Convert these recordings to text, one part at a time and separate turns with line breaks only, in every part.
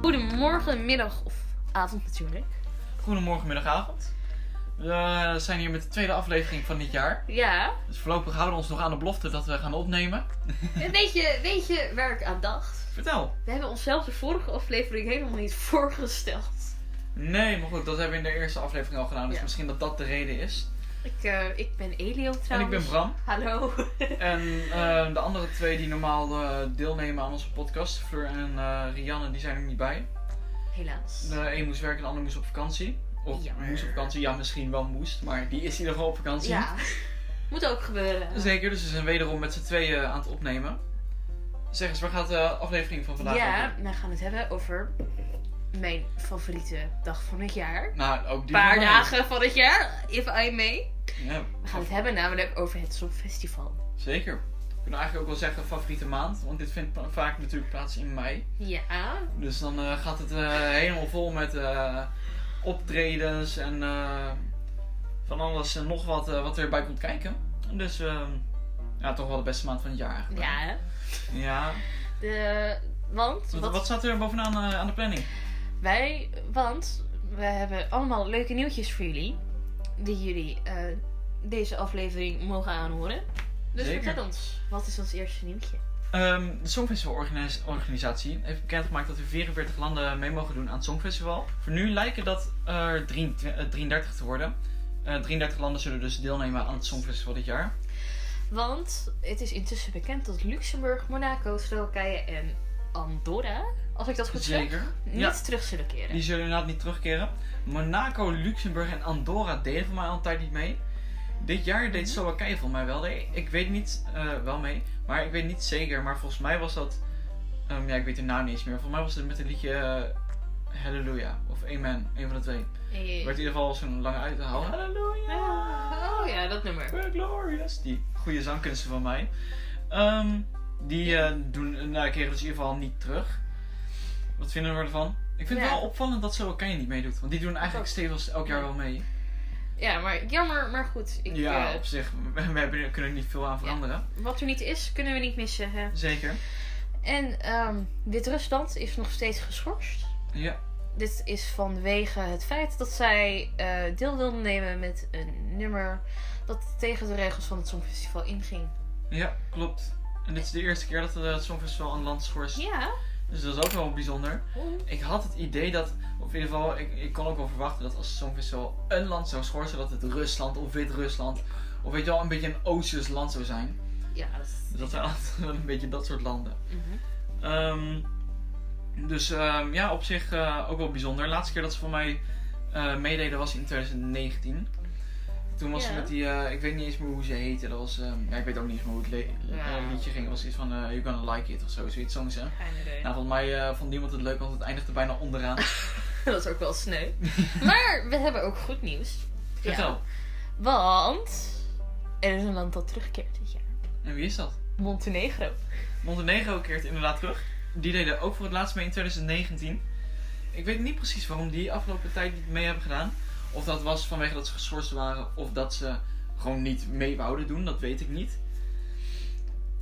Goedemorgen, middag of avond natuurlijk.
Goedemorgen, middagavond. We zijn hier met de tweede aflevering van dit jaar.
Ja,
Dus voorlopig houden we ons nog aan de belofte dat we gaan opnemen.
weet je, weet je waar ik aan dacht?
Vertel.
We hebben onszelf de vorige aflevering helemaal niet voorgesteld.
Nee, maar goed, dat hebben we in de eerste aflevering al gedaan. Dus
Ja.
misschien dat dat de reden is.
Ik, eh, ik ben Elio trouwens.
En ik ben Bram.
Hallo.
En eh, de andere twee die normaal eh, deelnemen aan onze podcast, Fleur en eh, Rianne, die zijn er niet bij.
Helaas.
De een moest werken en de ander moest op vakantie. Of
Jammer.
moest op vakantie, ja misschien wel moest, maar die is in ieder geval op vakantie.
Ja, moet ook gebeuren.
Zeker, dus we zijn wederom met z'n tweeën aan het opnemen. Zeg eens, waar gaat de aflevering van vandaag over?
Ja, wij gaan het hebben over mijn favoriete dag van het jaar.
Nou, ook die
Paar
van mij.
dagen van het jaar, if I may.
Ja,
We gaan het hebben namelijk over het Songfestival.
zeker. We kunnen eigenlijk ook wel zeggen favoriete maand, want dit vindt pa- vaak natuurlijk plaats in mei.
Ja,
Dus dan eh, gaat het eh, helemaal vol met eh, optredens en eh, van alles en nog wat eh, wat erbij komt kijken. Dus eh, ja, toch wel de beste maand van het jaar eigenlijk.
ja. hè?
Ja.
De, want,
Wat,
wat
wat staat er bovenaan eh, aan de planning?
Wij, want we hebben allemaal leuke nieuwtjes voor jullie. Die jullie eh, deze aflevering mogen aanhoren. Dus
Zeker.
vertel ons, wat is ons eerste nieuwtje?
Ehm, de Songfestivalorganisatie heeft bekendgemaakt dat er 44 landen mee mogen doen aan het Songfestival. Voor nu lijken dat er 23 eh, 33 te worden. Eh, 33 landen zullen dus deelnemen aan het Songfestival dit jaar.
Want het is intussen bekend dat Luxemburg, Monaco, Slowakije en Andorra, als ik dat goed zeg,
Zeker.
niet
Ja,
terug zullen keren.
die zullen inderdaad niet terugkeren. Monaco, Luxemburg en Andorra deden voor mij altijd niet mee. Dit jaar
Mhm.
deed Slowakije voor mij wel. mee. Ik weet niet eh, wel mee, maar ik weet niet zeker. Maar volgens mij was dat. ehm, ja, ik weet de naam niet eens meer. Volgens mij was het met een liedje eh, Hallelujah of Amen, een van de twee.
Eh,
Werd in ieder geval zo'n lange uithaal. Halleluja!
Oh ja, dat nummer.
We're glorious! Die goede zangkunsten van mij. Ehm, die eh, doen, nou, keren dus in ieder geval niet terug. Wat vinden we ervan? Ik vind
Ja.
het wel opvallend dat Slowakije niet meedoet. Want die doen eigenlijk
Ook.
stevig elk jaar
Ja.
wel mee.
Ja, maar jammer, maar goed. Ik,
ja,
eh,
op zich. We, we hebben, er- kunnen er niet veel aan veranderen.
wat er niet is, kunnen we niet missen. Hè?
Zeker.
En ehm, Wit-Rusland is nog steeds geschorst.
Ja.
Dit is vanwege het feit dat zij eh, deel wilde nemen met een nummer dat tegen de regels van het Songfestival inging.
ja, klopt. En dit is de eerste keer dat het Songfestival een land schorst.
Ja.
Dus dat is ook wel bijzonder. Ik had het idee dat, of in ieder geval, ik, ik kon ook wel verwachten dat als het Songfestival een land zou schorsen, dat het Rusland of Wit-Rusland, of weet je wel, een beetje een Oostisch land zou zijn.
Ja, dat is...
Dus dat zijn altijd wel een beetje dat soort landen.
Mhm.
Ehm, dus ehm, ja, op zich eh, ook wel bijzonder. De laatste keer dat ze voor mij eh, meededen was in 2019. Toen was ze
Ja.
met die, eh, ik weet niet eens meer hoe ze heette. Dat was, ehm, ja, ik weet ook niet eens meer hoe het le-
Ja.
eh, liedje ging. Het was iets van eh, You Gonna Like It of zo, zoiets zong ze. Nou, volgens mij eh, vond niemand het leuk, want het eindigde bijna onderaan.
Dat is ook wel sneu. maar we hebben ook goed nieuws.
Vertel.
Ja, want er is een land dat terugkeert dit jaar.
En wie is dat?
Montenegro.
Montenegro keert inderdaad terug. Die deden ook voor het laatst mee in 2019. Ik weet niet precies waarom die afgelopen tijd niet mee hebben gedaan. Of dat was vanwege dat ze geschorst waren of dat ze gewoon niet mee wouden doen, dat weet ik niet.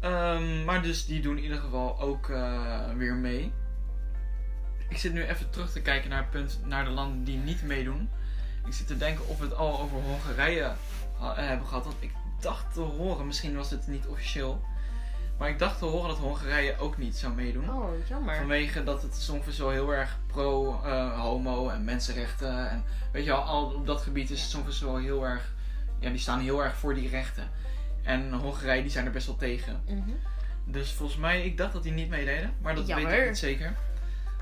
Ehm, maar dus die doen in ieder geval ook eh, weer mee. Ik zit nu even terug te kijken naar, het punt, naar de landen die niet meedoen. Ik zit te denken of we het al over Hongarije ha- hebben gehad. Want ik dacht te horen, misschien was het niet officieel. Maar ik dacht te horen dat Hongarije ook niet zou meedoen.
Oh, jammer.
Vanwege dat het Songfestival heel erg pro-homo en mensenrechten. En weet je wel, al op dat gebied is het Songfestival heel erg. Ja, die staan heel erg voor die rechten. En Hongarije, die zijn er best wel tegen.
Mhm.
Dus volgens mij, ik dacht dat die niet meededen. Maar dat weet
Jammer.
ik niet zeker.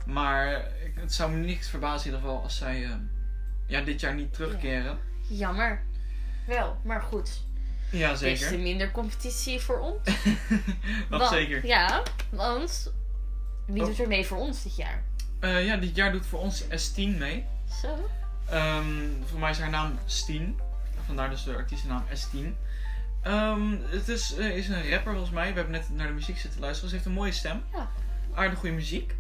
Maar ik- het zou me niks verbazen in ieder geval als zij eh, ja, dit jaar niet terugkeren.
Jammer. Wel, maar goed.
Ja, Dus
Er is
zeker.
er minder competitie voor ons.
dat
Want-
zeker.
Ja, want wie
Oh.
doet er mee voor ons dit jaar?
Eh, ja, dit jaar doet voor ons S10 mee.
Zo.
Ehm, voor mij is haar naam Steen. Vandaar dus de artiestennaam S10. Ehm, het is, eh, is een rapper volgens mij. We hebben net naar de muziek zitten luisteren. Ze heeft een mooie stem.
Ja.
Aardig goede muziek.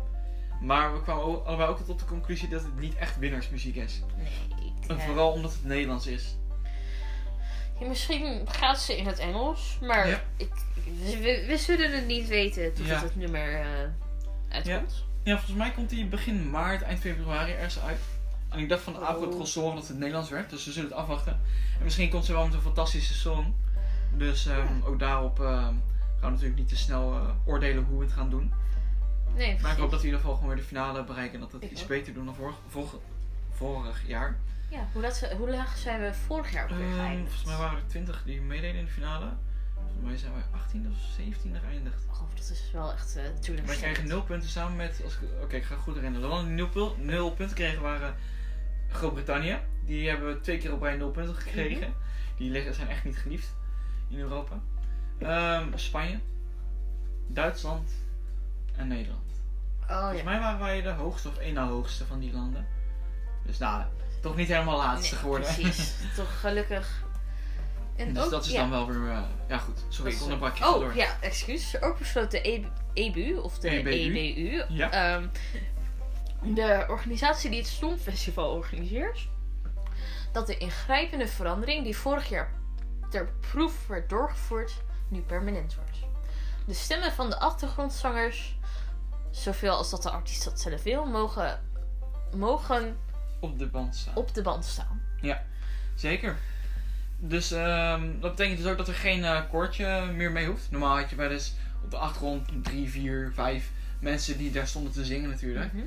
Maar we kwamen o- allebei ook tot de conclusie dat het niet echt winnaarsmuziek is.
Nee, ik,
En
eh,
vooral omdat het Nederlands is.
ja, misschien gaat ze in het Engels, maar
Ja.
ik, we, we zullen het niet weten totdat
Ja.
het nummer eh uitkomt.
Ja, volgens mij komt die begin maart, eind februari ergens uit. En ik dacht van de
Oh.
April Zorg dat het Nederlands werd, dus we zullen het afwachten. En misschien komt ze wel met een fantastische song. Dus ehm, ook daarop ehm, gaan we natuurlijk niet te snel eh, oordelen hoe we het gaan doen.
Nee,
Maar ik hoop
precies.
dat we in ieder geval gewoon weer de finale bereiken en dat we het
Ik
iets
ook.
beter doen dan vorig, vorig, vorig jaar.
Ja, hoe, dat ze, hoe laag zijn we vorig jaar ook weer
Ehm,
geëindigd?
volgens mij waren er 20 die meededen in de finale. Volgens mij zijn wij 18 of 17 geëindigd.
Oh, dat is wel echt eh natuurlijk.
Wij kregen 0 punten samen met. als ik- Oké, ik ga goed herinneren. De landen die 0, pul- 0 punten kregen waren Groot-Brittannië. Die hebben twee keer op rij 0 punten gekregen.
Mhm.
Die liggen, zijn echt niet geliefd in Europa. Ehm, Spanje, Duitsland en Nederland.
Oh
Volgens
ja.
mij waren wij de hoogste of één na hoogste van die landen. Dus nou, toch niet helemaal laatste
Nee,
geworden.
Precies. Toch gelukkig. En
Dus
ook-
dat is
ja,
dan wel weer. eh, ja, goed. Sorry,
dat
ik
is-
onderbrak je
Oh
door.
ja, excuus. Ook besloot de E- EBU, of de
EBU.
EBU,
Ja.
ehm, de organisatie die het Songfestival organiseert, dat de ingrijpende verandering die vorig jaar ter proef werd doorgevoerd, nu permanent wordt. De stemmen van de achtergrondzangers, zoveel als dat de artiest dat zelf wil, mogen, mogen
Op de band staan.
op de band staan.
Zeker. Dus ehm, dat betekent dus ook dat er geen eh, koortje meer mee hoeft. Normaal had je wel eens op de achtergrond drie, vier, vijf mensen die daar stonden te zingen natuurlijk.
Mhm.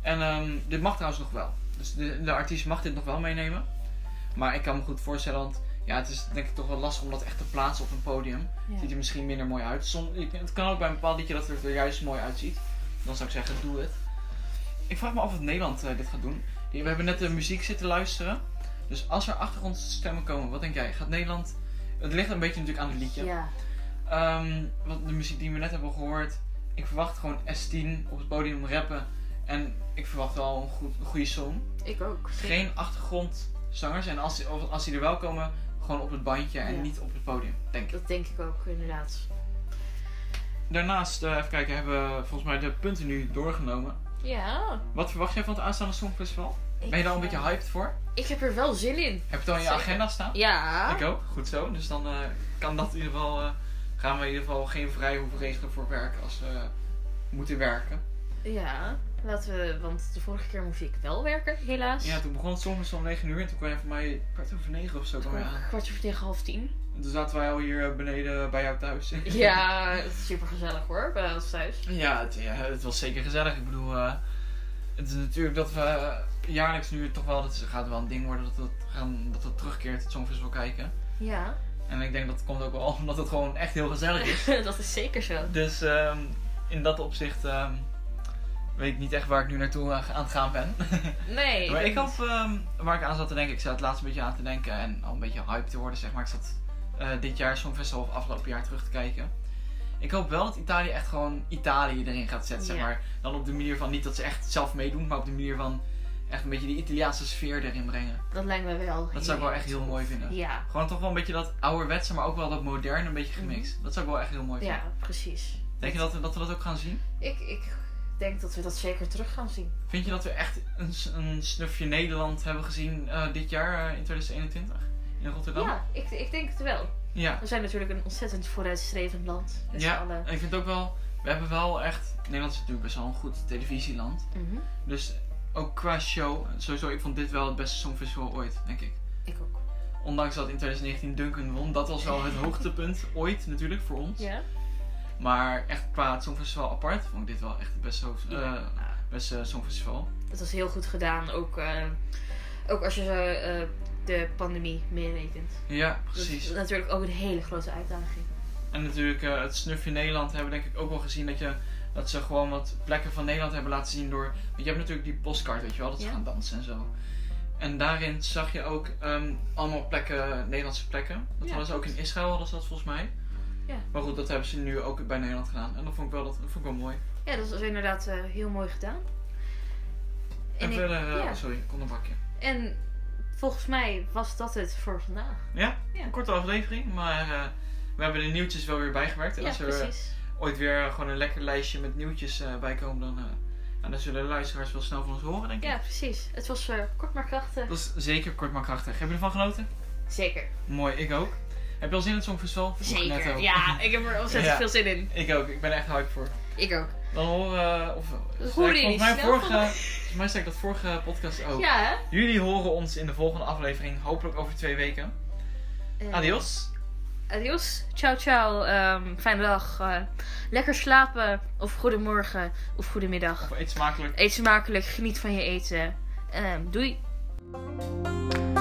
En ehm, dit mag trouwens nog wel. Dus de, de artiest mag dit nog wel meenemen. Maar ik kan me goed voorstellen, want ja, het is denk ik toch wel lastig om dat echt te plaatsen op een podium.
Ja.
Ziet er misschien minder mooi uit. Som, ik- het kan ook bij een bepaald liedje dat het er juist mooi uitziet. Dan zou ik zeggen, doe het. Ik vraag me af of Nederland eh, dit gaat doen. Die- We hebben net de muziek zitten luisteren. Dus als er achtergrondstemmen komen, wat denk jij? Gaat Nederland... Het ligt een beetje natuurlijk aan het liedje.
Ja.
Ehm, wat de muziek die we net hebben gehoord. Ik verwacht gewoon S10 op het podium rappen. En ik verwacht wel een, goed, een goede song.
ik ook.
Geen achtergrondzangers. En als die, of als die er wel komen, gewoon op het bandje en
Ja.
niet op het podium, denk ik.
Dat denk ik ook, inderdaad.
Daarnaast, eh, even kijken, hebben we volgens mij de punten nu doorgenomen.
Ja.
Wat verwacht jij van het aanstaande Songfestival? Ben je daar een beetje hyped voor?
eh, Ik heb er wel zin in.
Heb je het al in je
Zeker.
agenda staan?
Ja.
Ik ook, goed zo. Dus dan eh, kan dat in ieder geval, eh, gaan we in ieder geval geen vrij hoeven regelen voor werk als we eh, moeten werken.
Ja. Laten we, want de vorige keer moest ik wel werken, helaas.
Ja, toen begon het soms om 9 uur en toen kwam je voor mij kwart over 9 of zo kwam je aan.
Kwart over tegen half tien.
En toen zaten wij al hier eh, beneden bij jou thuis.
Ja, het is super gezellig hoor, bij ons thuis.
Ja, het, ja, het was zeker gezellig. Ik bedoel, eh, het is natuurlijk dat we eh, jaarlijks nu toch wel, dat gaat wel een ding worden dat dat, gaan, dat dat terugkeert, het Songfestival kijken.
Ja,
En ik denk dat komt ook wel omdat het gewoon echt heel gezellig is.
dat is zeker zo.
Dus ehm, in dat opzicht ehm, weet ik niet echt waar ik nu naartoe eh, aan het gaan ben.
Nee.
Maar ik
dat
had, ehm, waar ik aan zat te denken, ik zat het laatst een beetje aan te denken en al een beetje hyped te worden, zeg maar. Ik zat eh, dit jaar Songfestival of afgelopen jaar terug te kijken. Ik hoop wel dat Italië echt gewoon Italië erin gaat zetten, zeg
Ja.
maar. Dan op de manier van, niet dat ze echt zelf meedoen, maar op de manier van echt een beetje die Italiaanse sfeer erin brengen.
niet. Dat lijkt me wel.
Dat zou ik wel echt heel
tof.
mooi vinden.
Ja.
Gewoon toch wel een beetje dat ouderwetse, maar ook wel dat moderne een beetje gemixt. Dat zou ik wel echt heel mooi vinden.
Mhm. Ja, precies.
Denk je dat, we- dat we dat ook gaan zien?
Ik, ik denk dat we dat zeker terug gaan zien.
Vind je dat we echt een, s- een snufje Nederland hebben gezien eh, dit jaar, eh, in 2021? In Rotterdam?
Ja, ik, ik denk het wel.
ja.
We zijn natuurlijk een ontzettend vooruitstrevend land. Met
Ja,
z'n allen.
en ik vind ook wel, we hebben wel echt, Nederland is natuurlijk best wel een goed televisieland.
Mhm.
Dus ook qua show, sowieso, ik vond dit wel het beste Songfestival ooit, denk ik.
Ik ook.
Ondanks dat in 2019 Duncan won, dat was wel het hoogtepunt ooit natuurlijk voor ons.
Ja?
Maar echt qua het Songfestival apart, vond ik dit wel echt het beste, hoofd-
Ja.
eh,
Nou,
beste Songfestival.
Het was heel goed gedaan, ook, eh, ook als je eh, eh, de pandemie meerekent.
Ja,
Dat
precies.
is natuurlijk ook een hele grote uitdaging.
En natuurlijk eh, het snufje Nederland hebben we denk ik ook wel gezien dat, je, dat ze gewoon wat plekken van Nederland hebben laten zien door... Want je hebt natuurlijk die postkaart, weet je wel, dat ze
Ja.
gaan dansen en zo. En daarin zag je ook ehm, allemaal plekken, Nederlandse plekken. Dat
Ja,
hadden ze ook in
klopt.
Israël, hadden ze dat volgens mij.
Ja.
Maar goed, dat hebben ze nu ook bij Nederland gedaan. En dat vond ik wel, dat, vond ik wel mooi.
Ja, dat was inderdaad eh, heel mooi gedaan.
En,
En, ik-
verder,
ja.
eh, oh, sorry, ik kon een bakje.
en volgens mij was dat het voor vandaag.
Ja,
Ja.
een korte aflevering, maar eh, we hebben de nieuwtjes wel weer bijgewerkt. En
Ja,
als er eh,
precies.
ooit weer eh, gewoon een lekker lijstje met nieuwtjes eh, bij komen, dan, eh, nou, dan zullen de luisteraars wel snel van ons horen, denk ik.
Ja, precies. Het was eh, kort maar krachtig.
Dat is zeker kort maar krachtig. Heb je ervan genoten?
Zeker.
Mooi, ik ook. Heb je al zin in het Songfestival? Vroeg ik net
Zeker.
ook.
Ja, ik heb er ontzettend
Ja.
veel zin in.
Ik ook, ik ben er echt hyped voor.
Ik ook.
Dan horen... eh, Of,
Dat
zei
horen
ik
jullie
volgens mij
snel
vorige, Volgens mij zei ik dat vorige podcast ook.
Ja, hè?
Jullie horen ons in de volgende aflevering, hopelijk over twee weken.
Eh,
Adios.
Adios. Ciao, ciao. Ehm, fijne dag. eh, lekker slapen. Of goedemorgen. Of goedemiddag.
Of eet smakelijk.
Eet smakelijk. Geniet van je eten. Ehm, doei.